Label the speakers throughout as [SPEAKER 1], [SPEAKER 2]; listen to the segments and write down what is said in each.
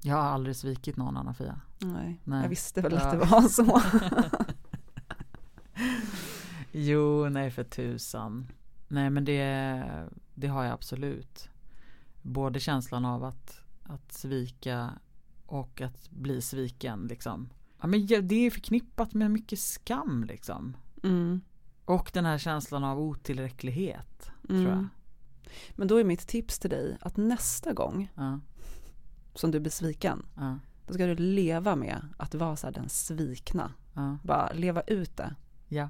[SPEAKER 1] Jag har aldrig svikit någon Anna-Fia.
[SPEAKER 2] Nej,
[SPEAKER 1] Nej.
[SPEAKER 2] jag visste väl att
[SPEAKER 1] Ja.
[SPEAKER 2] det var så.
[SPEAKER 1] Jo, nej för tusan. Nej men det, det har jag absolut. Både känslan av att, att svika och att bli sviken liksom. Ja, men ja, det är förknippat med mycket skam liksom.
[SPEAKER 2] Mm,
[SPEAKER 1] Och den här känslan av otillräcklighet
[SPEAKER 2] mm.
[SPEAKER 1] tror jag.
[SPEAKER 2] Men då är mitt tips till dig att nästa gång
[SPEAKER 1] Ja,
[SPEAKER 2] som du blir sviken,
[SPEAKER 1] ja,
[SPEAKER 2] då ska du leva med att vara så här den svikna.
[SPEAKER 1] ja.
[SPEAKER 2] Bara leva ut det.
[SPEAKER 1] Ja.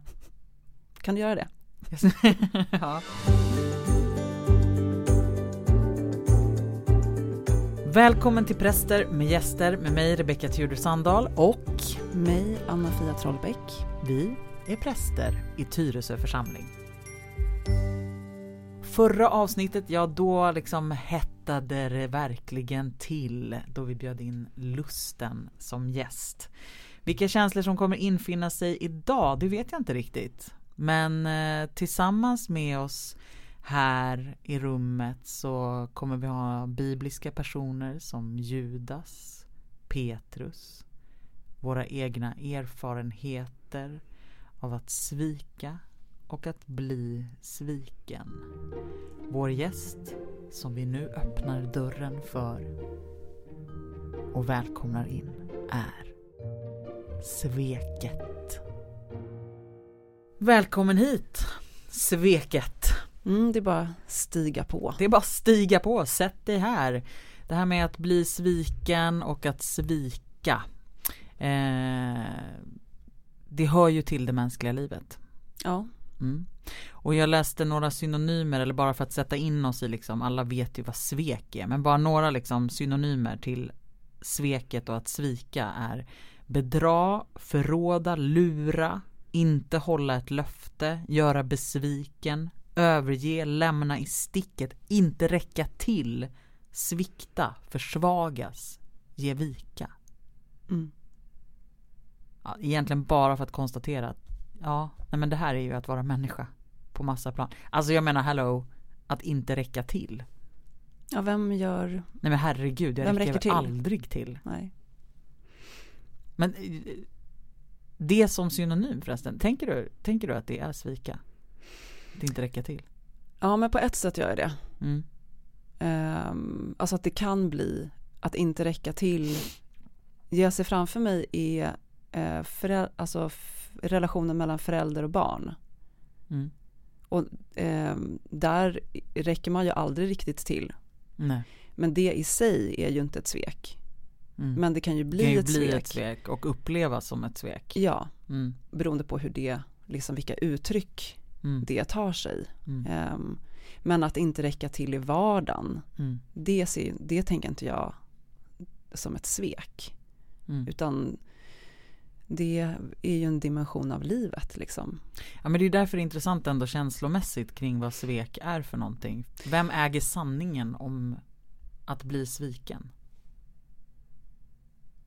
[SPEAKER 2] Kan du göra det?
[SPEAKER 1] ja. Välkommen till Präster med gäster med mig Rebecka Tudor Sandahl och
[SPEAKER 2] Mig, Anna-Fia Trollbäck.
[SPEAKER 1] Vi är präster i Tyresö församling. Förra avsnittet, ja då liksom hettade det verkligen till då vi bjöd in lusten som gäst. Vilka känslor som kommer infinna sig idag, det vet jag inte riktigt. Men eh, tillsammans med oss här i rummet så kommer vi ha bibliska personer som Judas, Petrus, våra egna erfarenheter av att svika och att bli sviken. Vår gäst som vi nu öppnar dörren för och välkomnar in är Sveket. Välkommen hit, Sveket.
[SPEAKER 2] Mm, det är bara stiga på.
[SPEAKER 1] Det är bara att stiga på, sätt dig här. Det här med att bli sviken och att svika. Eh, det hör ju till det mänskliga livet.
[SPEAKER 2] Ja.
[SPEAKER 1] Mm. Och jag läste några synonymer, eller bara för att sätta in oss i liksom, alla vet ju vad svek är, men bara några liksom synonymer till sveket och att svika är bedra, förråda, lura, inte hålla ett löfte, göra besviken, överge, lämna i sticket, inte räcka till, svikta, försvagas, ge vika.
[SPEAKER 2] Mm.
[SPEAKER 1] Ja, egentligen bara för att konstatera att ja, nej men det här är ju att vara människa på massa plan. Alltså jag menar hello, att inte räcka till.
[SPEAKER 2] ja, vem gör...
[SPEAKER 1] Nej men herregud, jag
[SPEAKER 2] Vem
[SPEAKER 1] räcker,
[SPEAKER 2] räcker till?
[SPEAKER 1] aldrig till.
[SPEAKER 2] Nej.
[SPEAKER 1] Men eh, det som synonym förresten, tänker du, tänker du att det är svika? Att inte räcka till?
[SPEAKER 2] Ja, men på ett sätt gör jag det.
[SPEAKER 1] Mm.
[SPEAKER 2] Ehm, alltså att det kan bli att inte räcka till. Det jag ser framför mig är eh, föräl- alltså f- relationen mellan förälder och barn.
[SPEAKER 1] Mm.
[SPEAKER 2] Ehm, där räcker man ju aldrig riktigt till.
[SPEAKER 1] Nej.
[SPEAKER 2] Men det i sig är ju inte ett svek.
[SPEAKER 1] Mm.
[SPEAKER 2] Men det kan ju bli,
[SPEAKER 1] det kan ju
[SPEAKER 2] ett,
[SPEAKER 1] bli
[SPEAKER 2] svek.
[SPEAKER 1] ett svek och upplevas som ett svek.
[SPEAKER 2] Ja,
[SPEAKER 1] Mm.
[SPEAKER 2] beroende på hur det, liksom vilka uttryck
[SPEAKER 1] Mm.
[SPEAKER 2] det tar sig.
[SPEAKER 1] Mm.
[SPEAKER 2] Ehm, men att inte räcka till i vardagen,
[SPEAKER 1] Mm.
[SPEAKER 2] det, ser, det tänker inte jag som ett svek.
[SPEAKER 1] Mm.
[SPEAKER 2] Utan det är ju en dimension av livet liksom.
[SPEAKER 1] Ja men det är därför det är intressant ändå känslomässigt kring vad svek är för någonting. Vem äger sanningen om att bli sviken?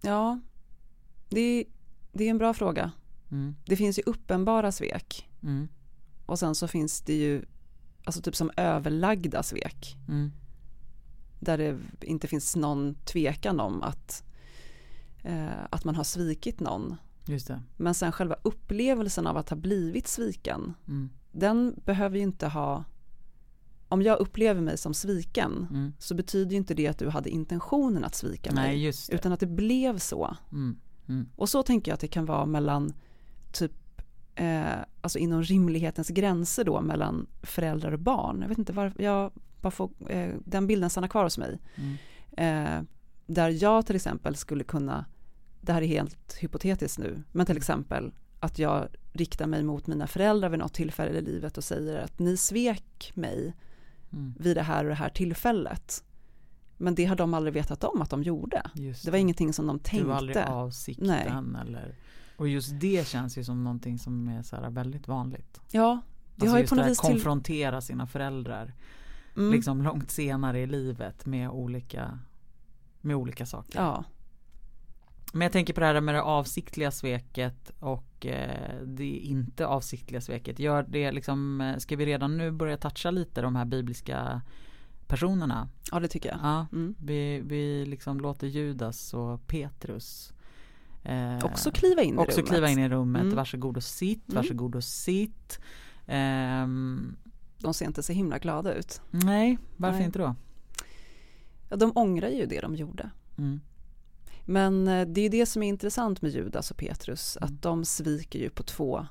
[SPEAKER 2] Ja, det är, det är en bra fråga.
[SPEAKER 1] Mm,
[SPEAKER 2] Det finns ju uppenbara svek
[SPEAKER 1] mm,
[SPEAKER 2] och sen så finns det ju alltså typ som överlagda svek
[SPEAKER 1] mm,
[SPEAKER 2] där det inte finns någon tvekan om att, eh, att man har svikit någon.
[SPEAKER 1] just det.
[SPEAKER 2] Men sen själva upplevelsen av att ha blivit sviken,
[SPEAKER 1] Mm,
[SPEAKER 2] den behöver ju inte ha... Om jag upplever mig som sviken
[SPEAKER 1] mm.
[SPEAKER 2] så betyder ju inte det att du hade intentionen att svika mig.
[SPEAKER 1] Nej just det.
[SPEAKER 2] Utan att det blev så.
[SPEAKER 1] Mm,
[SPEAKER 2] Och så tänker jag att det kan vara mellan typ, eh, alltså inom rimlighetens gränser då mellan föräldrar och barn. Jag vet inte varför, jag bara får, eh, den bilden stannar kvar hos mig.
[SPEAKER 1] mm,
[SPEAKER 2] Eh, där jag till exempel skulle kunna, det här är helt hypotetiskt nu, men till exempel att jag riktar mig mot mina föräldrar vid något tillfälle i livet och säger att ni svek mig
[SPEAKER 1] mm,
[SPEAKER 2] vid det här och det här tillfället. Men det har de aldrig vetat om att de gjorde.
[SPEAKER 1] just
[SPEAKER 2] Det var ingenting som de
[SPEAKER 1] Det var aldrig
[SPEAKER 2] tänkte.
[SPEAKER 1] avsikten eller... Och just det känns ju som någonting som är så här väldigt vanligt. Alltså
[SPEAKER 2] Ja, det har ju
[SPEAKER 1] just
[SPEAKER 2] på något
[SPEAKER 1] här
[SPEAKER 2] vis till...
[SPEAKER 1] konfrontera sina föräldrar
[SPEAKER 2] Mm,
[SPEAKER 1] liksom långt senare i livet med olika, med olika saker.
[SPEAKER 2] Ja,
[SPEAKER 1] Men jag tänker på det här med det avsiktliga sveket och eh, det inte avsiktliga sveket. Gör det liksom, eh, ska vi redan nu börja toucha lite de här bibliska personerna.
[SPEAKER 2] Ja, det tycker jag.
[SPEAKER 1] Ja,
[SPEAKER 2] Mm.
[SPEAKER 1] vi, vi liksom låter Judas och Petrus eh,
[SPEAKER 2] Också kliva in i
[SPEAKER 1] också
[SPEAKER 2] rummet.
[SPEAKER 1] kliva in i rummet.
[SPEAKER 2] Mm.
[SPEAKER 1] Varsågod och sitt,
[SPEAKER 2] Mm.
[SPEAKER 1] varsågod och sitt. Ehm,
[SPEAKER 2] De ser inte så himla glada ut.
[SPEAKER 1] nej, varför
[SPEAKER 2] Nej.
[SPEAKER 1] inte då?
[SPEAKER 2] Ja, de ångrar ju det de gjorde.
[SPEAKER 1] Mm.
[SPEAKER 2] Men eh, det är ju det som är intressant med Judas och Petrus,
[SPEAKER 1] Mm.
[SPEAKER 2] att de sviker ju på två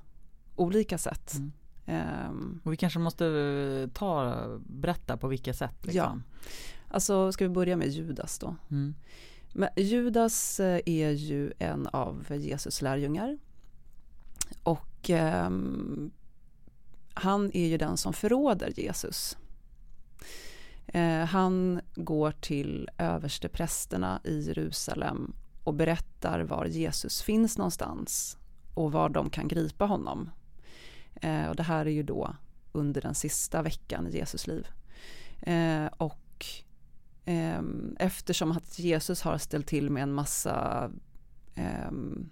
[SPEAKER 2] olika sätt.
[SPEAKER 1] Mm.
[SPEAKER 2] Ehm,
[SPEAKER 1] Och vi kanske måste eh, ta, berätta på vilka sätt. Liksom.
[SPEAKER 2] alltså, ska vi börja med Judas då?
[SPEAKER 1] Mm.
[SPEAKER 2] Men Judas eh, är ju en av Jesus lärjungar. Och ehm, han är ju den som förråder Jesus. Eh, han går till översteprästerna i Jerusalem och berättar var Jesus finns någonstans och var de kan gripa honom. Eh, och det här är ju då under den sista veckan i Jesus liv. Eh, och Ehm, eftersom att Jesus har ställt till med en massa ehm,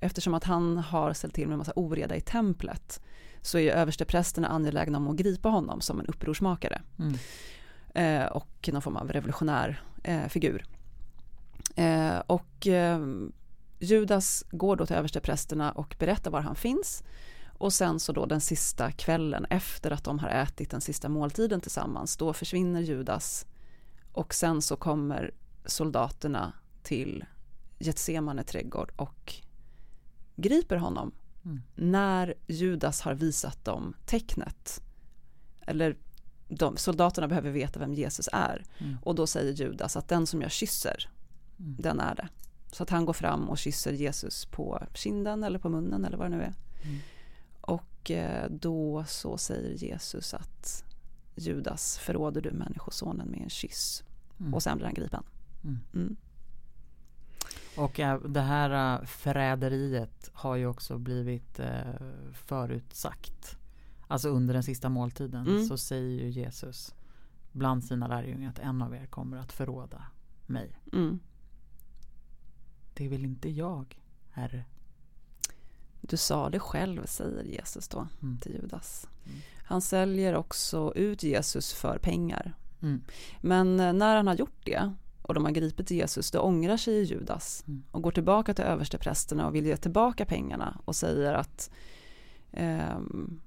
[SPEAKER 2] eftersom att han har ställt till med en massa oreda i templet så är ju översteprästerna angelägna om att gripa honom som en upprorsmakare
[SPEAKER 1] Mm.
[SPEAKER 2] eh, och någon form av revolutionär eh, figur. Eh, och ehm, Judas går då till översteprästerna och berättar var han finns och sen så då den sista kvällen efter att de har ätit den sista måltiden tillsammans då försvinner Judas och sen så kommer soldaterna till Getsemane trädgård och griper honom
[SPEAKER 1] Mm.
[SPEAKER 2] när Judas har visat dem tecknet. Eller de, soldaterna behöver veta vem Jesus är
[SPEAKER 1] Mm.
[SPEAKER 2] och då säger Judas att den som jag kysser,
[SPEAKER 1] Mm.
[SPEAKER 2] den är det. Så att han går fram och kysser Jesus på kinden eller på munnen eller vad det nu är.
[SPEAKER 1] Mm.
[SPEAKER 2] Och eh, då så säger Jesus att Judas förråder du människosonen med en kyss
[SPEAKER 1] Mm.
[SPEAKER 2] och sen blir han gripen.
[SPEAKER 1] Mm.
[SPEAKER 2] Mm.
[SPEAKER 1] Och eh, det här eh, förräderiet har ju också blivit eh, förutsagt. Alltså under den sista måltiden
[SPEAKER 2] Mm.
[SPEAKER 1] så säger ju Jesus bland sina lärjungar att en av er kommer att förråda mig.
[SPEAKER 2] Mm.
[SPEAKER 1] Det vill inte jag, herre.
[SPEAKER 2] Du sa det själv, säger Jesus då
[SPEAKER 1] Mm.
[SPEAKER 2] till Judas.
[SPEAKER 1] Mm.
[SPEAKER 2] Han säljer också ut Jesus för pengar.
[SPEAKER 1] Mm.
[SPEAKER 2] Men eh, när han har gjort det och de har gripit Jesus, då ångrar sig ju Judas
[SPEAKER 1] Mm.
[SPEAKER 2] och går tillbaka till översteprästerna och vill ge tillbaka pengarna och säger att, ehm,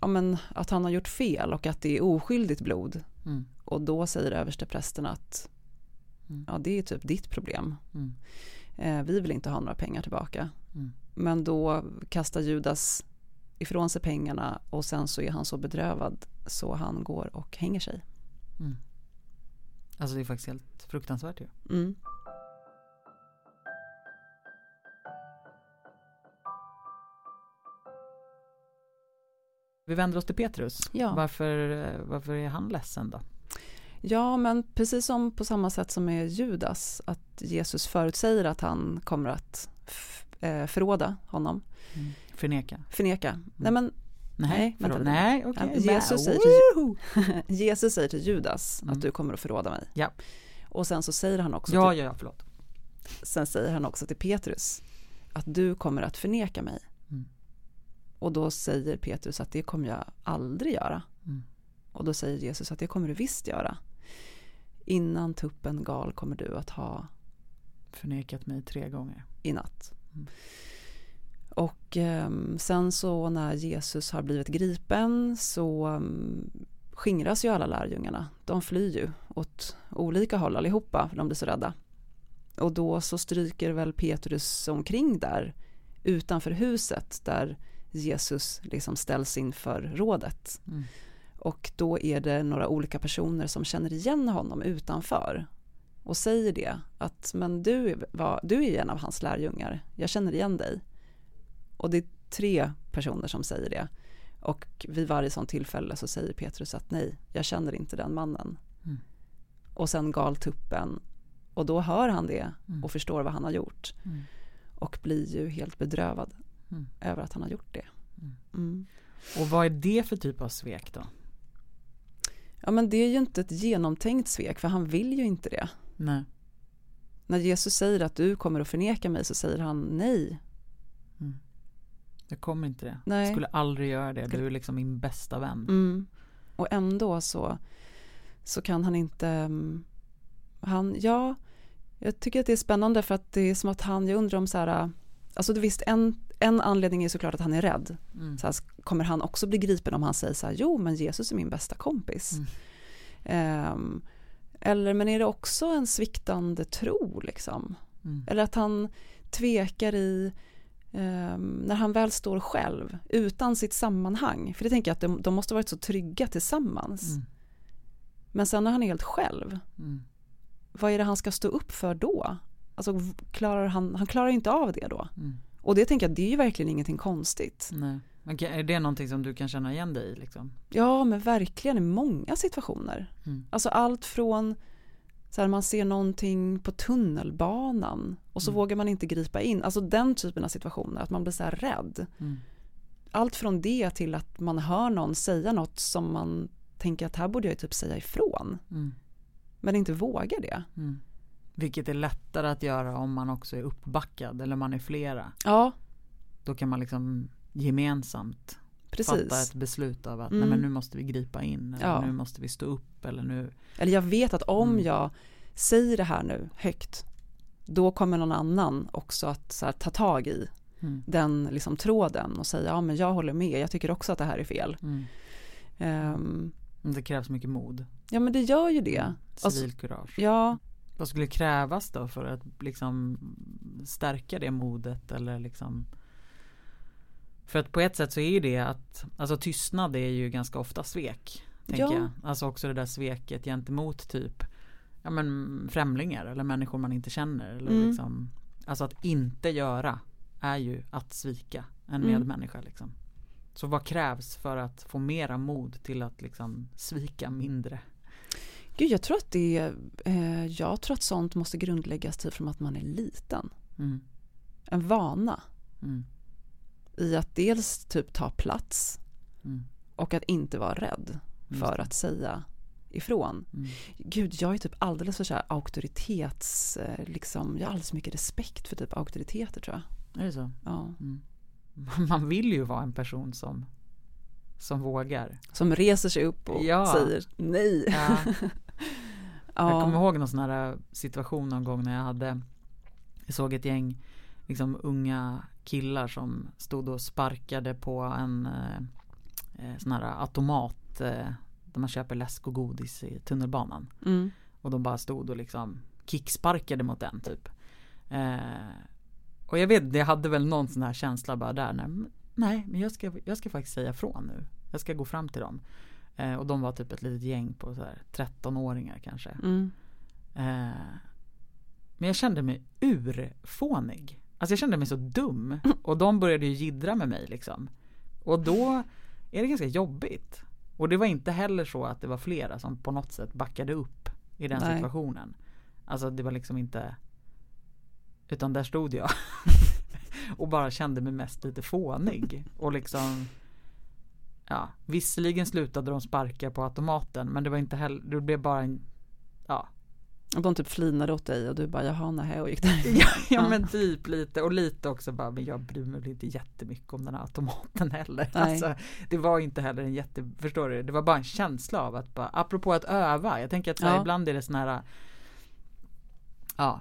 [SPEAKER 2] ja, men att han har gjort fel och att det är oskyldigt blod.
[SPEAKER 1] Mm.
[SPEAKER 2] Och då säger översteprästerna att
[SPEAKER 1] Mm.
[SPEAKER 2] ja, det är typ ditt problem.
[SPEAKER 1] Mm.
[SPEAKER 2] Eh, vi vill inte ha några pengar tillbaka.
[SPEAKER 1] Mm.
[SPEAKER 2] Men då kastar Judas ifrån sig pengarna och sen så är han så bedrövad så han går och hänger sig.
[SPEAKER 1] Alltså det är faktiskt helt fruktansvärt ju.
[SPEAKER 2] Mm.
[SPEAKER 1] Vi vänder oss till Petrus.
[SPEAKER 2] Ja.
[SPEAKER 1] Varför, eh, varför är han ledsen då?
[SPEAKER 2] Ja, men precis som på samma sätt som med Judas, att Jesus förutsäger att han kommer att f- eh, förråda honom,
[SPEAKER 1] Förneka?
[SPEAKER 2] förneka.
[SPEAKER 1] Mm.
[SPEAKER 2] Nej, men Mm. Nej,
[SPEAKER 1] förlåt.
[SPEAKER 2] vänta lite.
[SPEAKER 1] Nej, okej.
[SPEAKER 2] Ja, Jesus säger till-
[SPEAKER 1] Woho!
[SPEAKER 2] eh, Jesus säger till Judas
[SPEAKER 1] Mm.
[SPEAKER 2] att du kommer att förråda mig.
[SPEAKER 1] Ja.
[SPEAKER 2] Och sen så säger han också,
[SPEAKER 1] Ja, ja, ja, förlåt.
[SPEAKER 2] till, sen säger han också till Petrus att du kommer att förneka mig.
[SPEAKER 1] Mm.
[SPEAKER 2] Och då säger Petrus att det kommer jag aldrig göra.
[SPEAKER 1] Mm.
[SPEAKER 2] Och då säger Jesus att det kommer du visst göra. Innan tuppen gal kommer du att ha
[SPEAKER 1] Förnekat mig tre gånger.
[SPEAKER 2] i natt.
[SPEAKER 1] Mm.
[SPEAKER 2] Och ehm, sen så när Jesus har blivit gripen så ehm, skingras ju alla lärjungarna. De flyr ju åt olika håll allihopa för de blir så rädda. Och då så stryker väl Petrus omkring där utanför huset där Jesus liksom ställs inför rådet.
[SPEAKER 1] Mm.
[SPEAKER 2] Och då är det några olika personer som känner igen honom utanför och säger det att men du, var, du är en av hans lärjungar, jag känner igen dig. Och det är tre personer som säger det. Och vid varje sånt tillfälle så säger Petrus att nej, jag känner inte den mannen.
[SPEAKER 1] Mm.
[SPEAKER 2] Och sen galtuppen och då hör han det
[SPEAKER 1] Mm.
[SPEAKER 2] och förstår vad han har gjort
[SPEAKER 1] Mm.
[SPEAKER 2] och blir ju helt bedrövad
[SPEAKER 1] Mm.
[SPEAKER 2] över att han har gjort det.
[SPEAKER 1] Mm.
[SPEAKER 2] Mm.
[SPEAKER 1] Och vad är det för typ av svek då?
[SPEAKER 2] Ja men det är ju inte ett genomtänkt svek för han vill ju inte det.
[SPEAKER 1] Nej.
[SPEAKER 2] När Jesus säger att du kommer att förneka mig så säger han nej.
[SPEAKER 1] Mm. Jag kommer inte det.
[SPEAKER 2] Nej.
[SPEAKER 1] Skulle aldrig göra det.
[SPEAKER 2] Skulle-
[SPEAKER 1] Du är liksom min bästa vän.
[SPEAKER 2] Mm. Och ändå så så kan han inte... mm, Han, ja, jag tycker att det är spännande för att det är som att han, jag undrar om så här, alltså det visst en, en anledning är såklart att han är rädd.
[SPEAKER 1] Mm.
[SPEAKER 2] Så här, kommer han också bli gripen om han säger så här, jo men Jesus är min bästa kompis.
[SPEAKER 1] Mm.
[SPEAKER 2] Ehm, eller men är det också en sviktande tro liksom?
[SPEAKER 1] Mm.
[SPEAKER 2] Eller att han tvekar i ehm, när han väl står själv utan sitt sammanhang. För det tänker jag att de, de måste ha varit så trygga tillsammans.
[SPEAKER 1] Mm.
[SPEAKER 2] Men sen när han är helt själv,
[SPEAKER 1] Mm.
[SPEAKER 2] vad är det han ska stå upp för då? Alltså v- klarar han, han klarar ju inte av det då.
[SPEAKER 1] Mm.
[SPEAKER 2] Och det tänker jag, det är ju verkligen ingenting konstigt.
[SPEAKER 1] Nej. Men kan- är det någonting som du kan känna igen dig i liksom?
[SPEAKER 2] Ja, men verkligen i många situationer.
[SPEAKER 1] Mm.
[SPEAKER 2] Alltså allt från så här, man ser någonting på tunnelbanan och så
[SPEAKER 1] Mm.
[SPEAKER 2] vågar man inte gripa in. Alltså den typen av situationer, att man blir så här rädd.
[SPEAKER 1] Mm.
[SPEAKER 2] Allt från det till att man hör någon säga något som man tänker att här borde jag ju typ säga ifrån.
[SPEAKER 1] Mm.
[SPEAKER 2] Men inte vågar det.
[SPEAKER 1] Mm. Vilket är lättare att göra om man också är uppbackad eller man är flera.
[SPEAKER 2] Ja,
[SPEAKER 1] Då kan man liksom gemensamt fatta
[SPEAKER 2] precis.
[SPEAKER 1] ett beslut av att
[SPEAKER 2] Mm.
[SPEAKER 1] nej, men nu måste vi gripa in eller
[SPEAKER 2] Ja.
[SPEAKER 1] nu måste vi stå upp eller nu.
[SPEAKER 2] Eller jag vet att om
[SPEAKER 1] Mm.
[SPEAKER 2] jag säger det här nu högt då kommer någon annan också att så här, ta tag i
[SPEAKER 1] Mm.
[SPEAKER 2] den liksom, tråden och säga ja men jag håller med, jag tycker också att det här är fel.
[SPEAKER 1] Mm.
[SPEAKER 2] Ehm,
[SPEAKER 1] Men Det krävs mycket mod.
[SPEAKER 2] ja men det gör ju det. Alltså-
[SPEAKER 1] Civilkurage.
[SPEAKER 2] Ja,
[SPEAKER 1] Vad skulle krävas då för att liksom stärka det modet eller liksom för att på ett sätt så är ju det att alltså tystnad är ju ganska ofta svek. Tänker
[SPEAKER 2] Ja.
[SPEAKER 1] jag. Alltså också det där sveket gentemot typ ja, men främlingar eller människor man inte känner. Eller
[SPEAKER 2] Mm.
[SPEAKER 1] liksom, alltså att inte göra är ju att svika en
[SPEAKER 2] Mm.
[SPEAKER 1] medmänniska. Liksom. Så vad krävs för att få mera mod till att liksom svika mindre?
[SPEAKER 2] gud jag tror att det, eh, jag tror att sånt måste grundläggas typ från att man är liten.
[SPEAKER 1] Mm.
[SPEAKER 2] En vana
[SPEAKER 1] Mm.
[SPEAKER 2] i att dels typ ta plats
[SPEAKER 1] Mm.
[SPEAKER 2] och att inte vara rädd
[SPEAKER 1] Just
[SPEAKER 2] för
[SPEAKER 1] det.
[SPEAKER 2] att säga ifrån.
[SPEAKER 1] Mm.
[SPEAKER 2] Gud, jag är typ alldeles för så här auktoritets... eh, Liksom, jag har alldeles för mycket respekt för typ auktoriteter tror jag.
[SPEAKER 1] Är det så? Mm.
[SPEAKER 2] Ja.
[SPEAKER 1] Man vill ju vara en person som, som vågar.
[SPEAKER 2] Som reser sig upp och
[SPEAKER 1] Ja.
[SPEAKER 2] säger nej.
[SPEAKER 1] Ja. Jag kommer
[SPEAKER 2] Ja.
[SPEAKER 1] ihåg någon sån här äh, situation någon gång när jag hade Jag såg ett gäng liksom unga killar som stod och sparkade på en eh, eh, sån här automat eh, där man köper läsk och godis i tunnelbanan.
[SPEAKER 2] Mm.
[SPEAKER 1] Och de bara stod och liksom kicksparkade mot den typ. Eh, och jag vet, jag hade väl någon sån här känsla bara där. Nej, men- nej men jag ska, jag ska faktiskt säga från nu. Jag ska gå fram till dem. Eh, och de var typ ett litet gäng på så här 13-åringar kanske.
[SPEAKER 2] Mm.
[SPEAKER 1] Eh, men jag kände mig urfånig. Alltså jag kände mig så dum. Och de började ju jiddra med mig liksom. Och då är det ganska jobbigt. Och det var inte heller så att det var flera som på något sätt backade upp i den
[SPEAKER 2] Nej.
[SPEAKER 1] situationen. Alltså det var liksom inte Utan där stod jag. och bara kände mig mest lite fånig. Och liksom Ja, visserligen slutade de sparka på automaten men det var inte heller, det blev bara en Ja,
[SPEAKER 2] Och de typ flinade åt dig och du bara jaha nähä och gick där.
[SPEAKER 1] Ja, ja men typ lite och lite också bara men jag bryr mig väl inte jättemycket om den här automaten heller.
[SPEAKER 2] Nej.
[SPEAKER 1] Alltså, det var inte heller en jätte, förstår du? Det var bara en känsla av att bara, apropå att öva, jag tänker att så här,
[SPEAKER 2] Ja.
[SPEAKER 1] ibland är det sån här Ja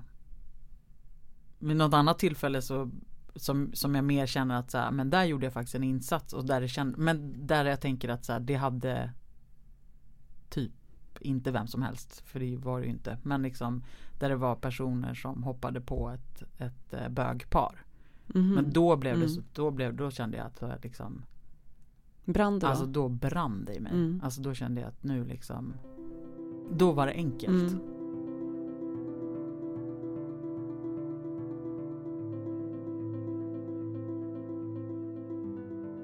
[SPEAKER 1] Vid något annat tillfälle så som, som jag mer känner att så här, men där gjorde jag faktiskt en insats och där det känd, men där jag tänker att så här, det hade typ inte vem som helst för det var det ju inte men liksom där det var personer som hoppade på ett, ett eh, bögpar.
[SPEAKER 2] Mhm.
[SPEAKER 1] Men då blev det
[SPEAKER 2] Mm.
[SPEAKER 1] så, då, blev, då kände jag att det var liksom,
[SPEAKER 2] Brann det då?
[SPEAKER 1] alltså då brann det i mig.
[SPEAKER 2] Mm.
[SPEAKER 1] Alltså då kände jag att nu liksom, då var det enkelt.
[SPEAKER 2] Mm.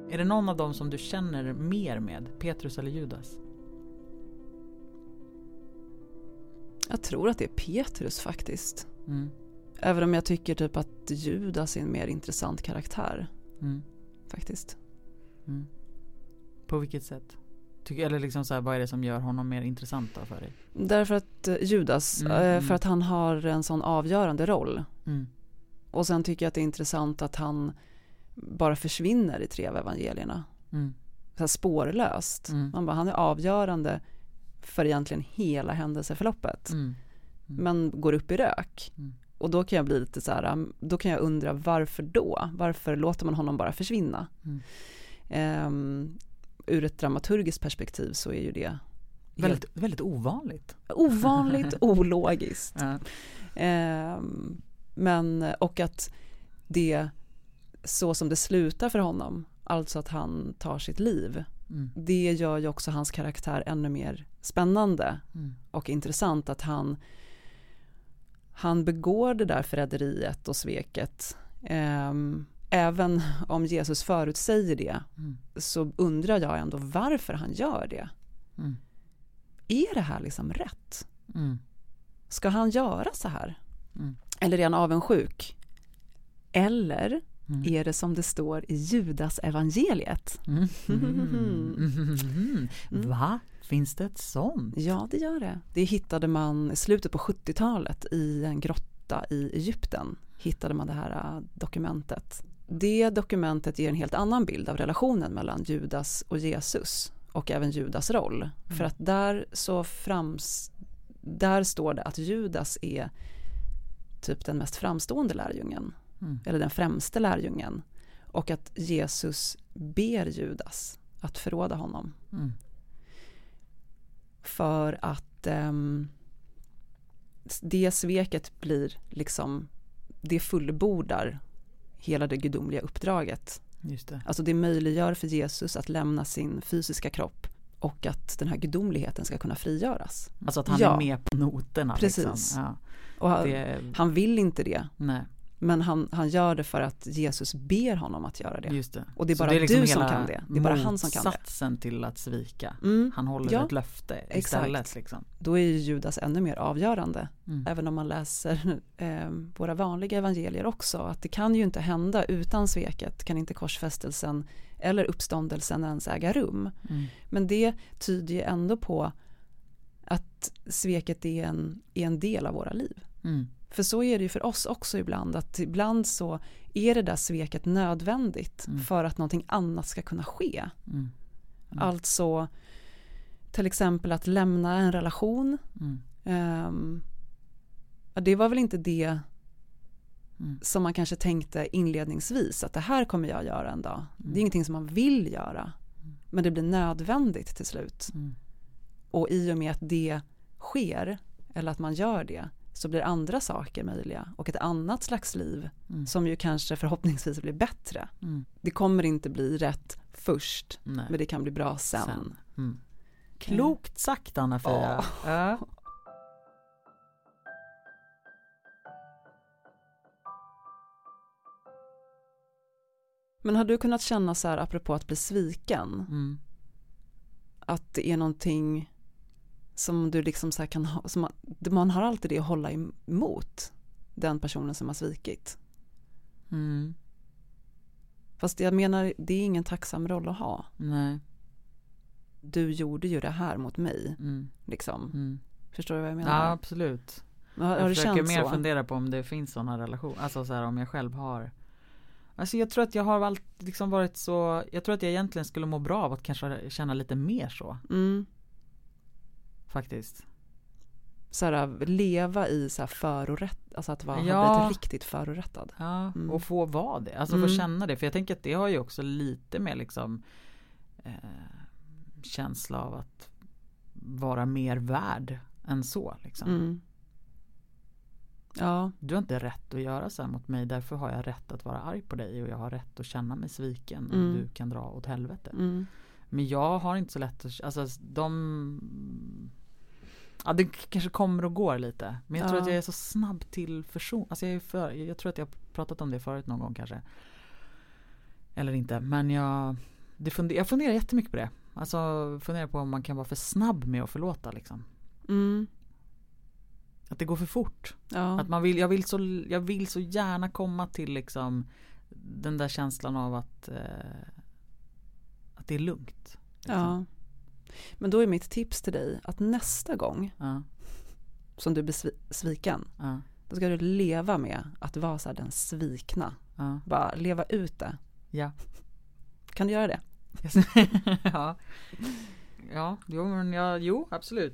[SPEAKER 1] Är det någon av dem som du känner mer med? Petrus eller Judas?
[SPEAKER 2] Jag tror att det är Petrus faktiskt.
[SPEAKER 1] Mm.
[SPEAKER 2] Även om jag tycker typ att Judas är en mer intressant karaktär
[SPEAKER 1] Mm.
[SPEAKER 2] faktiskt.
[SPEAKER 1] Mm. På vilket sätt? Tycker, eller liksom så här, vad är det som gör honom mer intressant då för dig?
[SPEAKER 2] Därför att eh, Judas,
[SPEAKER 1] Mm,
[SPEAKER 2] eh,
[SPEAKER 1] mm.
[SPEAKER 2] för att han har en sån avgörande roll.
[SPEAKER 1] Mm.
[SPEAKER 2] Och sen tycker jag att det är intressant att han bara försvinner i tre av evangelierna.
[SPEAKER 1] Mm.
[SPEAKER 2] Så här spårlöst.
[SPEAKER 1] Mm.
[SPEAKER 2] Man bara, han är avgörande för egentligen hela händelseförloppet.
[SPEAKER 1] Mm.
[SPEAKER 2] Men går upp i rök.
[SPEAKER 1] Mm.
[SPEAKER 2] Och då kan jag bli lite så här, mm, då kan jag undra varför då? Varför låter man honom bara försvinna?
[SPEAKER 1] Mm.
[SPEAKER 2] Ehm, ur ett dramaturgiskt perspektiv så är ju det
[SPEAKER 1] Väldigt, väldigt ovanligt.
[SPEAKER 2] helt ovanligt ologiskt.
[SPEAKER 1] Ja.
[SPEAKER 2] Ehm, men, och att det, så som det slutar för honom, alltså att han tar sitt liv,
[SPEAKER 1] Mm.
[SPEAKER 2] det gör ju också hans karaktär ännu mer spännande
[SPEAKER 1] Mm.
[SPEAKER 2] och intressant att han, han begår det där förräderiet och sveket. Ehm, även om Jesus förutsäger det
[SPEAKER 1] Mm.
[SPEAKER 2] så undrar jag ändå varför han gör det.
[SPEAKER 1] Mm.
[SPEAKER 2] Är det här liksom rätt?
[SPEAKER 1] Mm.
[SPEAKER 2] Ska han göra så här?
[SPEAKER 1] Mm.
[SPEAKER 2] Eller är han avundsjuk? Eller
[SPEAKER 1] Mm.
[SPEAKER 2] är det som det står i Judas evangeliet?
[SPEAKER 1] Mm. Mm. Va? Finns det ett sånt?
[SPEAKER 2] Ja, det gör det. Det hittade man i slutet på 70-talet i en grotta i Egypten. Hittade man det här eh, dokumentet. Det dokumentet ger en helt annan bild av relationen mellan Judas och Jesus och även Judas roll. För att där så frams... Där står det att Judas är typ den mest framstående lärjungen.
[SPEAKER 1] Mm.
[SPEAKER 2] Eller den främste lärjungen. Och att Jesus ber Judas att förråda honom
[SPEAKER 1] Mm.
[SPEAKER 2] för att ehm, det sveket blir liksom det fullbordar hela det gudomliga uppdraget.
[SPEAKER 1] Just det.
[SPEAKER 2] Alltså det möjliggör för Jesus att lämna sin fysiska kropp och att den här gudomligheten ska kunna frigöras.
[SPEAKER 1] Alltså att han
[SPEAKER 2] Ja.
[SPEAKER 1] är med på noterna.
[SPEAKER 2] Precis.
[SPEAKER 1] Liksom. Ja.
[SPEAKER 2] Och han,
[SPEAKER 1] Det,
[SPEAKER 2] han vill inte det,
[SPEAKER 1] nej,
[SPEAKER 2] men han, han gör det för att Jesus ber honom att göra det.
[SPEAKER 1] just det.
[SPEAKER 2] Och det är
[SPEAKER 1] Så
[SPEAKER 2] bara
[SPEAKER 1] liksom
[SPEAKER 2] du som
[SPEAKER 1] hela
[SPEAKER 2] kan det. Det är bara han som kan det.
[SPEAKER 1] Motsatsen till att svika.
[SPEAKER 2] Mm.
[SPEAKER 1] Han håller
[SPEAKER 2] Ja,
[SPEAKER 1] ett löfte
[SPEAKER 2] exakt.
[SPEAKER 1] istället. Liksom.
[SPEAKER 2] Då är ju Judas ännu mer avgörande
[SPEAKER 1] Mm.
[SPEAKER 2] även om man läser eh, våra vanliga evangelier också, att det kan ju inte hända utan sveket, kan inte korsfästelsen eller uppståndelsen ens äga rum.
[SPEAKER 1] Mm.
[SPEAKER 2] Men det tyder ju ändå på att sveket är en, är en del av våra liv.
[SPEAKER 1] Mm.
[SPEAKER 2] För så är det ju för oss också ibland, att ibland så är det där sveket nödvändigt
[SPEAKER 1] Mm.
[SPEAKER 2] för att någonting annat ska kunna ske.
[SPEAKER 1] Mm.
[SPEAKER 2] Alltså till exempel att lämna en relation,
[SPEAKER 1] Mm.
[SPEAKER 2] Ehm, ja, det var väl inte det
[SPEAKER 1] Mm.
[SPEAKER 2] som man kanske tänkte inledningsvis att det här kommer jag göra en dag.
[SPEAKER 1] Mm.
[SPEAKER 2] Det är ingenting som man vill göra men det blir nödvändigt till slut.
[SPEAKER 1] Mm.
[SPEAKER 2] Och i och med att det sker eller att man gör det så blir andra saker möjliga och ett annat slags liv
[SPEAKER 1] Mm.
[SPEAKER 2] som ju kanske förhoppningsvis blir bättre.
[SPEAKER 1] Mm.
[SPEAKER 2] Det kommer inte bli rätt först
[SPEAKER 1] Nej.
[SPEAKER 2] men det kan bli bra sen.
[SPEAKER 1] Mm. Klokt sagt Anna-Fia. Ja.
[SPEAKER 2] Men har du kunnat känna så här apropå att bli sviken
[SPEAKER 1] Mm.
[SPEAKER 2] att det är någonting som du liksom så här kan ha, som man, man har alltid det att hålla emot den personen som har svikit.
[SPEAKER 1] Mm.
[SPEAKER 2] Fast jag menar, det är ingen tacksam roll att ha.
[SPEAKER 1] Nej.
[SPEAKER 2] Du gjorde ju det här mot mig,
[SPEAKER 1] Mm.
[SPEAKER 2] liksom.
[SPEAKER 1] Mm.
[SPEAKER 2] Förstår du vad jag
[SPEAKER 1] Ja,
[SPEAKER 2] menar?
[SPEAKER 1] absolut.
[SPEAKER 2] Ja, har
[SPEAKER 1] jag
[SPEAKER 2] du
[SPEAKER 1] försöker
[SPEAKER 2] känt
[SPEAKER 1] mer
[SPEAKER 2] så?
[SPEAKER 1] fundera på om det finns sådana relationer, alltså så här, om jag själv har Alltså jag tror att jag har allt, liksom varit så, jag tror att jag egentligen skulle må bra av att kanske känna lite mer så
[SPEAKER 2] Mm.
[SPEAKER 1] faktiskt.
[SPEAKER 2] Så här, leva i så här förorätt, alltså att vara
[SPEAKER 1] Ja.
[SPEAKER 2] ha blivit riktigt förorättad.
[SPEAKER 1] Ja,
[SPEAKER 2] Mm.
[SPEAKER 1] och få vara det, alltså få
[SPEAKER 2] Mm.
[SPEAKER 1] känna det. För jag tänker att det har ju också lite med liksom eh, känsla av att vara mer värd än så. Liksom.
[SPEAKER 2] Mm. Ja,
[SPEAKER 1] Du har inte rätt att göra så här mot mig, därför har jag rätt att vara arg på dig och jag har rätt att känna mig sviken om
[SPEAKER 2] Mm.
[SPEAKER 1] du kan dra åt helvete.
[SPEAKER 2] mm.
[SPEAKER 1] Men jag har inte så lätt att, alltså de Ja det k- kanske kommer och går lite. Men jag tror
[SPEAKER 2] Ja.
[SPEAKER 1] att jag är så snabb till förson. Alltså jag, är för, jag tror att jag har pratat om det förut någon gång kanske. Eller inte. Men jag, det funder, jag funderar jättemycket på det. Alltså funderar på om man kan vara för snabb med att förlåta liksom.
[SPEAKER 2] Mm.
[SPEAKER 1] Att det går för fort.
[SPEAKER 2] ja.
[SPEAKER 1] Att man vill, jag, vill så, jag vill så gärna komma till liksom den där känslan av att, eh, att det är lugnt. Liksom.
[SPEAKER 2] ja. Men då är mitt tips till dig att nästa gång
[SPEAKER 1] Ja,
[SPEAKER 2] som du blir svi- sviken,
[SPEAKER 1] ja,
[SPEAKER 2] då ska du leva med att vara så här den svikna.
[SPEAKER 1] ja.
[SPEAKER 2] Bara leva ut det.
[SPEAKER 1] Ja.
[SPEAKER 2] Kan du göra det?
[SPEAKER 1] ja. ja, jo, men jag, jo absolut.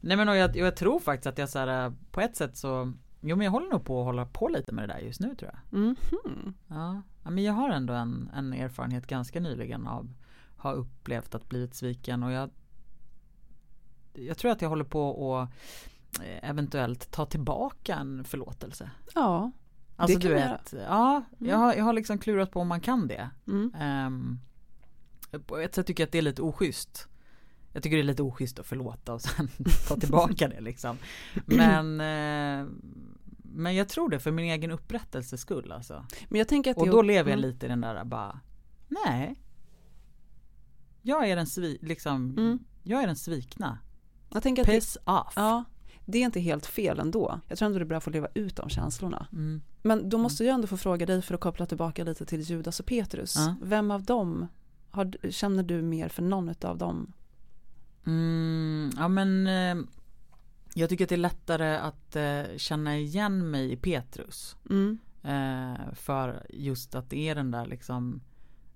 [SPEAKER 1] Nej men och jag, och jag tror faktiskt att jag så här, eh, på ett sätt så, jo men jag håller nog på att hålla på lite med det där just nu tror jag.
[SPEAKER 2] Mhm.
[SPEAKER 1] Ja, ja, men jag har ändå en, en erfarenhet ganska nyligen av ha upplevt att blivit sviken och jag jag tror att jag håller på att eh, eventuellt ta tillbaka en förlåtelse.
[SPEAKER 2] Ja.
[SPEAKER 1] Alltså
[SPEAKER 2] kan
[SPEAKER 1] du
[SPEAKER 2] man
[SPEAKER 1] vet, ja, jag,
[SPEAKER 2] Mm.
[SPEAKER 1] har, jag har liksom klurat på om man kan det.
[SPEAKER 2] Mm.
[SPEAKER 1] Ehm, på ett sätt tycker jag att det är lite oschysst. Jag tycker det är lite oschysst att förlåta och sen ta tillbaka det liksom. Men, eh, men jag tror det för min egen upprättelses skull alltså.
[SPEAKER 2] Men jag tänker att
[SPEAKER 1] Och
[SPEAKER 2] det är-
[SPEAKER 1] då lever jag
[SPEAKER 2] Mm.
[SPEAKER 1] lite i den där bara, nej. Jag är den, svi- liksom,
[SPEAKER 2] Mm.
[SPEAKER 1] jag är den svikna.
[SPEAKER 2] Jag tänker att det,
[SPEAKER 1] Piss off.
[SPEAKER 2] ja, det är inte helt fel ändå. Jag tror ändå det är bra att få leva ut de känslorna.
[SPEAKER 1] Mm.
[SPEAKER 2] Men då måste jag ändå få fråga dig för att koppla tillbaka lite till Judas och Petrus.
[SPEAKER 1] Ja.
[SPEAKER 2] Vem av dem har, du- känner du mer för någon av dem?
[SPEAKER 1] Mm, ja men eh, jag tycker att det är lättare att eh, känna igen mig i Petrus.
[SPEAKER 2] Mm.
[SPEAKER 1] Eh, för just att det är den där liksom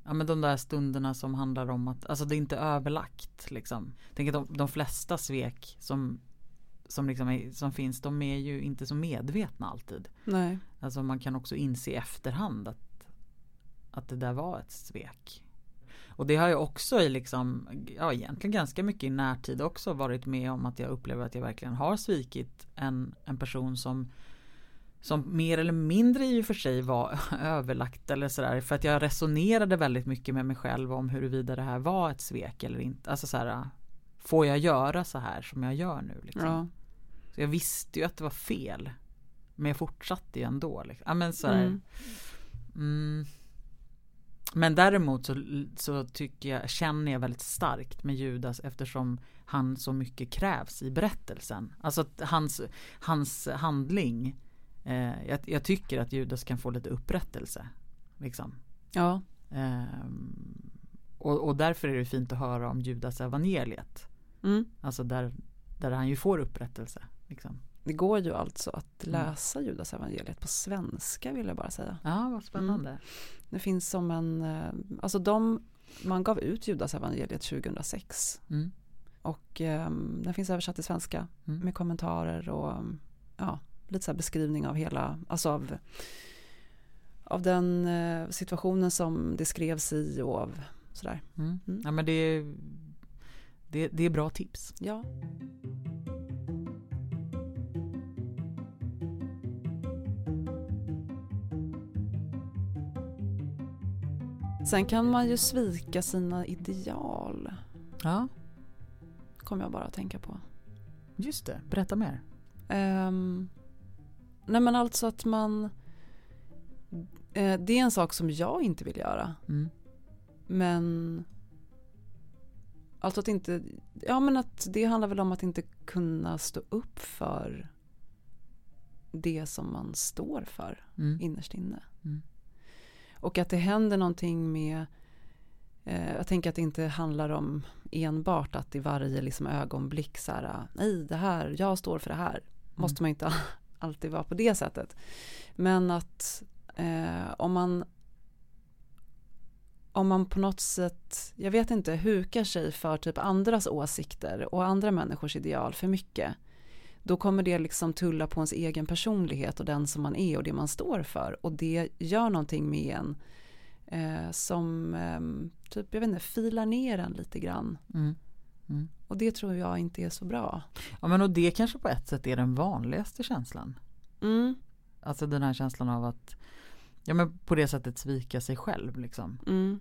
[SPEAKER 1] Ja men de där stunderna som handlar om att, alltså det är inte överlagt liksom. Tänk att de, de flesta svek som, som, liksom är, som finns, de är ju inte så medvetna alltid.
[SPEAKER 2] Nej.
[SPEAKER 1] Alltså man kan också inse i efterhand att, att det där var ett svek. Och det har jag också i liksom, ja egentligen ganska mycket i närtid också varit med om att jag upplever att jag verkligen har svikit en, en person som som mer eller mindre i och för sig var överlagt eller sådär för att jag resonerade väldigt mycket med mig själv om huruvida det här var ett svek eller inte. Alltså såhär, får jag göra så här som jag gör nu? Liksom?
[SPEAKER 2] Ja.
[SPEAKER 1] Så jag visste ju att det var fel. Men jag fortsatte ju ändå. Liksom. Ja, men, så här, mm.
[SPEAKER 2] Mm.
[SPEAKER 1] men däremot så, så tycker jag, känner jag väldigt starkt med Judas eftersom han så mycket krävs i berättelsen. Alltså att hans, hans handling. Eh, jag, jag tycker att Judas kan få lite upprättelse. Liksom.
[SPEAKER 2] Ja.
[SPEAKER 1] Ehm, och, och därför är det fint att höra om Judas evangeliet.
[SPEAKER 2] Mm.
[SPEAKER 1] Alltså där, där han ju får upprättelse. Liksom.
[SPEAKER 2] Det går ju alltså att
[SPEAKER 1] Mm.
[SPEAKER 2] läsa Judas evangeliet på svenska vill jag bara säga.
[SPEAKER 1] Ja, vad spännande.
[SPEAKER 2] Det finns som en, eh, alltså de, man gav ut Judas evangeliet 2006
[SPEAKER 1] Mm.
[SPEAKER 2] och eh, den finns översatt till svenska
[SPEAKER 1] Mm.
[SPEAKER 2] med kommentarer och mm, ja, lite så här beskrivning av hela, alltså av, av den eh, situationen som det skrevs i och av sådär.
[SPEAKER 1] Mm.
[SPEAKER 2] Mm.
[SPEAKER 1] Ja, men det, är- det, det är bra tips.
[SPEAKER 2] Ja. Sen kan man ju svika sina ideal,
[SPEAKER 1] Ja,
[SPEAKER 2] kommer jag bara att tänka på.
[SPEAKER 1] just det. Berätta mer.
[SPEAKER 2] Ehm, nej men alltså att man... eh, det är en sak som jag inte vill göra,
[SPEAKER 1] Mm.
[SPEAKER 2] men... Alltså att inte... Ja men att det handlar väl om att inte kunna stå upp för det som man står för.
[SPEAKER 1] Mm.
[SPEAKER 2] innerst inne.
[SPEAKER 1] Mm.
[SPEAKER 2] Och att det händer någonting med eh, jag tänker att det inte handlar om enbart att i varje liksom ögonblick så här, "Ah, nej det här, jag står för det här.
[SPEAKER 1] Mm.
[SPEAKER 2] Måste man inte alltid vara på det sättet. Men att eh, om man om man på något sätt, jag vet inte, hukar sig för typ andras åsikter och andra människors ideal för mycket. Då kommer det liksom tulla på ens egen personlighet och den som man är och det man står för. Och det gör någonting med en eh, som ehm, typ, jag vet inte, filar ner en lite grann.
[SPEAKER 1] Mm.
[SPEAKER 2] Och det tror jag inte är så bra.
[SPEAKER 1] Ja, men och det kanske på ett sätt är den vanligaste känslan.
[SPEAKER 2] Mm,
[SPEAKER 1] Alltså den här känslan av att ja, men på det sättet svika sig själv. Liksom.
[SPEAKER 2] mm.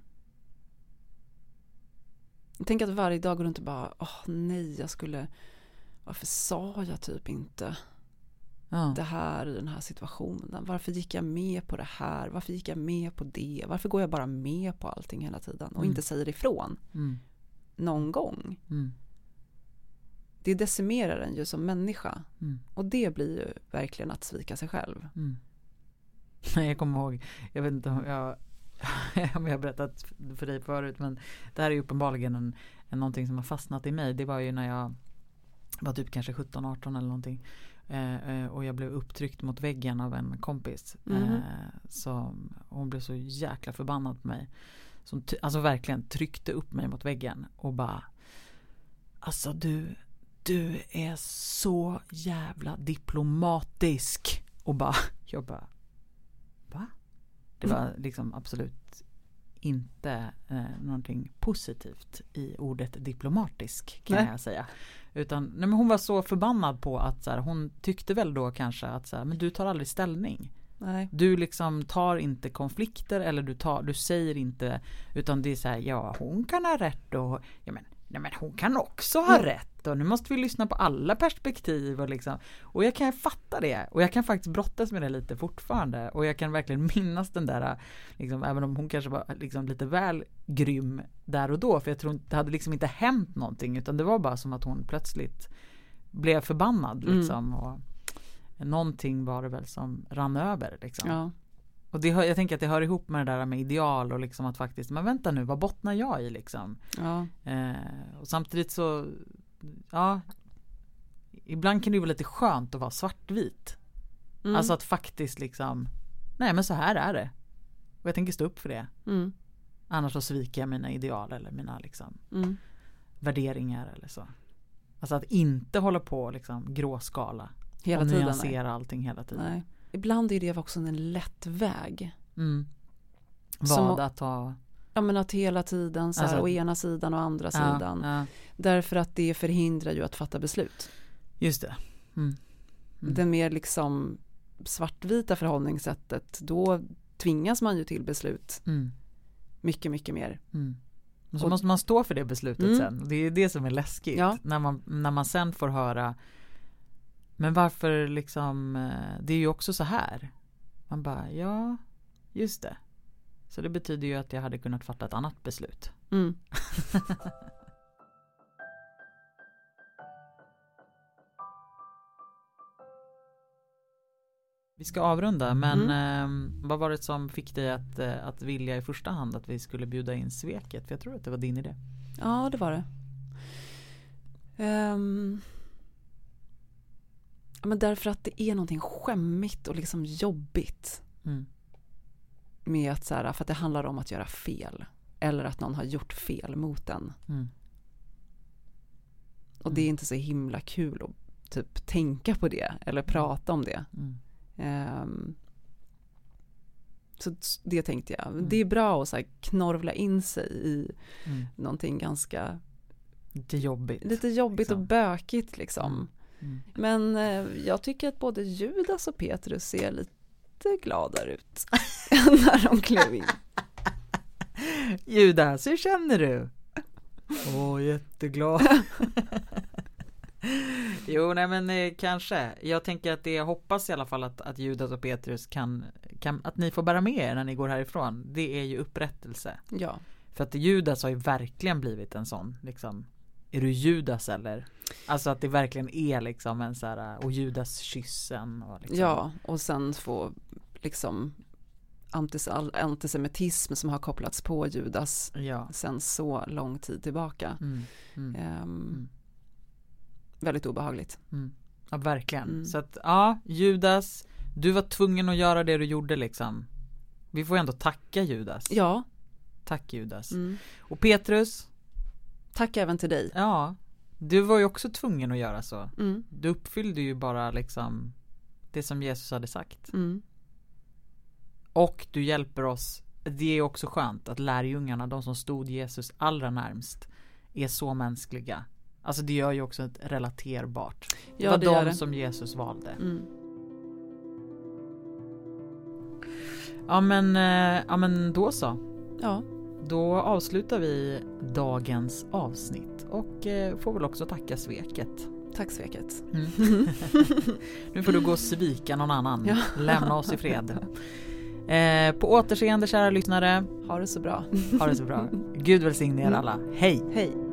[SPEAKER 2] Tänk att varje dag går du inte bara, åh nej, jag skulle, varför sa jag typ inte?
[SPEAKER 1] Ja.
[SPEAKER 2] det här i den här situationen? Varför gick jag med på det här? Varför gick jag med på det? Varför går jag bara med på allting hela tiden och
[SPEAKER 1] Mm.
[SPEAKER 2] inte säger ifrån
[SPEAKER 1] Mm.
[SPEAKER 2] någon gång?
[SPEAKER 1] Mm.
[SPEAKER 2] Det decimerar en ju som människa
[SPEAKER 1] Mm.
[SPEAKER 2] och det blir ju verkligen att svika sig själv.
[SPEAKER 1] Mm. Nej, jag kommer ihåg, jag vet inte om jag, om jag har berättat för dig förut men det här är ju uppenbarligen en, en, någonting som har fastnat i mig. Det var ju när jag var typ kanske 17-18 eller någonting eh, eh, och jag blev upptryckt mot väggen av en kompis.
[SPEAKER 2] Mhm.
[SPEAKER 1] Eh, som, hon blev så jäkla förbannad på mig. Som ty- alltså verkligen tryckte upp mig mot väggen och bara Alltså du, du är så jävla diplomatisk. Och bara, jag bara, va? Det var liksom absolut inte eh, någonting positivt i ordet diplomatisk kan
[SPEAKER 2] Nej.
[SPEAKER 1] jag säga. Utan nej, men hon var så förbannad på att så här, hon tyckte väl då kanske att så här, men du tar aldrig ställning.
[SPEAKER 2] Nej.
[SPEAKER 1] Du liksom tar inte konflikter eller du, tar, du säger inte utan det är så här, ja hon kan ha rätt och ja, men, nej, men hon kan också ha
[SPEAKER 2] Mm.
[SPEAKER 1] rätt och nu måste vi lyssna på alla perspektiv och liksom och jag kan fatta det och jag kan faktiskt brottas med det lite fortfarande och jag kan verkligen minnas den där liksom, även om hon kanske var liksom lite väl grym där och då för jag tror inte- det hade liksom inte hänt någonting utan det var bara som att hon plötsligt blev förbannad
[SPEAKER 2] Mm.
[SPEAKER 1] liksom och någonting var det väl som rann över liksom.
[SPEAKER 2] Ja.
[SPEAKER 1] Och det, hör- jag tänker att det hör ihop med det där med ideal och liksom att faktiskt, men vänta nu, vad bottnar jag i liksom?
[SPEAKER 2] ja.
[SPEAKER 1] Eh, och samtidigt så, ja, ibland kan det ju vara lite skönt att vara svartvit.
[SPEAKER 2] Mm.
[SPEAKER 1] Alltså att faktiskt liksom, nej men så här är det. Och jag tänker stå upp för det.
[SPEAKER 2] Mm.
[SPEAKER 1] Annars så sviker jag mina ideal eller mina liksom
[SPEAKER 2] Mm.
[SPEAKER 1] värderingar eller så. Alltså att inte hålla på och liksom gråskala
[SPEAKER 2] Hela
[SPEAKER 1] och
[SPEAKER 2] tiden. nej.
[SPEAKER 1] nyansera allting hela tiden.
[SPEAKER 2] Nej. Ibland är det också en lätt väg.
[SPEAKER 1] Mm.
[SPEAKER 2] Som-
[SPEAKER 1] Vad att ta...
[SPEAKER 2] Ja men att hela tiden så här,
[SPEAKER 1] Alltså-
[SPEAKER 2] å ena sidan och andra sidan.
[SPEAKER 1] Ja, ja.
[SPEAKER 2] Därför att det förhindrar ju att fatta beslut.
[SPEAKER 1] Just det. Mm.
[SPEAKER 2] Det mer liksom svartvita förhållningssättet, då tvingas man ju till beslut
[SPEAKER 1] Mm.
[SPEAKER 2] mycket, mycket mer.
[SPEAKER 1] Mm. Och så
[SPEAKER 2] Och-
[SPEAKER 1] måste man stå för det beslutet
[SPEAKER 2] Mm.
[SPEAKER 1] sen. Det är ju det som är läskigt.
[SPEAKER 2] Ja.
[SPEAKER 1] När, man, när man sen får höra Men varför liksom eh, Det är ju också så här. Man bara ja just det. Så det betyder ju att jag hade kunnat fatta ett annat beslut.
[SPEAKER 2] Mm.
[SPEAKER 1] Vi ska avrunda men eh, vad var det som fick dig att, eh, att vilja i första hand att vi skulle bjuda in sveket? För jag tror att det var din idé.
[SPEAKER 2] Ja, det var det. Ehm. Ja, men därför att det är någonting skämmigt och liksom jobbigt
[SPEAKER 1] Mm.
[SPEAKER 2] med att så här, för att det handlar om att göra fel. Eller att någon har gjort fel mot en.
[SPEAKER 1] Mm.
[SPEAKER 2] Och det är inte så himla kul att typ tänka på det eller prata om det.
[SPEAKER 1] Mm.
[SPEAKER 2] Ehm, så t- det tänkte jag. Det är bra att så här knorvla in sig i
[SPEAKER 1] Mm.
[SPEAKER 2] någonting ganska
[SPEAKER 1] Lite jobbigt.
[SPEAKER 2] lite jobbigt och
[SPEAKER 1] Liksom.
[SPEAKER 2] bökigt liksom.
[SPEAKER 1] Mm.
[SPEAKER 2] Men eh, jag tycker att både Judas och Petrus ser lite gladare ut när de klev in.
[SPEAKER 1] Judas, hur känner du? Åh, jätteglad. jo, nej men eh, kanske. Jag tänker att det, jag hoppas i alla fall att, att Judas och Petrus kan, kan, att ni får bära med er när ni går härifrån. Det är ju upprättelse.
[SPEAKER 2] Ja,
[SPEAKER 1] För att Judas har ju verkligen blivit en sån, liksom. Är du Judas eller? Alltså att det verkligen är liksom en så här, och Judas kyssen och liksom.
[SPEAKER 2] ja och sen få liksom antis- all- antisemitism som har kopplats på Judas
[SPEAKER 1] Ja.
[SPEAKER 2] sen så lång tid tillbaka.
[SPEAKER 1] Mm, mm.
[SPEAKER 2] Ehm,
[SPEAKER 1] Mm.
[SPEAKER 2] Väldigt obehagligt.
[SPEAKER 1] Ja verkligen.
[SPEAKER 2] Mm.
[SPEAKER 1] Så att ja, Judas, du var tvungen att göra det du gjorde liksom. Vi får ändå tacka Judas.
[SPEAKER 2] Ja,
[SPEAKER 1] Tack Judas.
[SPEAKER 2] mm.
[SPEAKER 1] Och Petrus,
[SPEAKER 2] tack även till dig.
[SPEAKER 1] ja, du var ju också tvungen att göra så.
[SPEAKER 2] Mm.
[SPEAKER 1] Du uppfyllde ju bara liksom det som Jesus hade sagt.
[SPEAKER 2] Mm.
[SPEAKER 1] Och du hjälper oss. Det är också skönt att lärjungarna, de som stod Jesus allra närmst, är så mänskliga. Alltså det gör ju också ett relaterbart. Det
[SPEAKER 2] Ja,
[SPEAKER 1] var
[SPEAKER 2] det
[SPEAKER 1] de
[SPEAKER 2] gör det.
[SPEAKER 1] som Jesus valde.
[SPEAKER 2] Mm.
[SPEAKER 1] Ja men, eh, ja men då så.
[SPEAKER 2] Ja,
[SPEAKER 1] Då avslutar vi dagens avsnitt och eh, får väl också tacka sveket.
[SPEAKER 2] tack sveket.
[SPEAKER 1] nu får du gå och svika någon annan.
[SPEAKER 2] Ja.
[SPEAKER 1] Lämna oss i fred. Eh, på återseende kära lyssnare.
[SPEAKER 2] Ha det så bra.
[SPEAKER 1] Ha det så bra. Gud välsigne er alla. Hej!
[SPEAKER 2] Hej.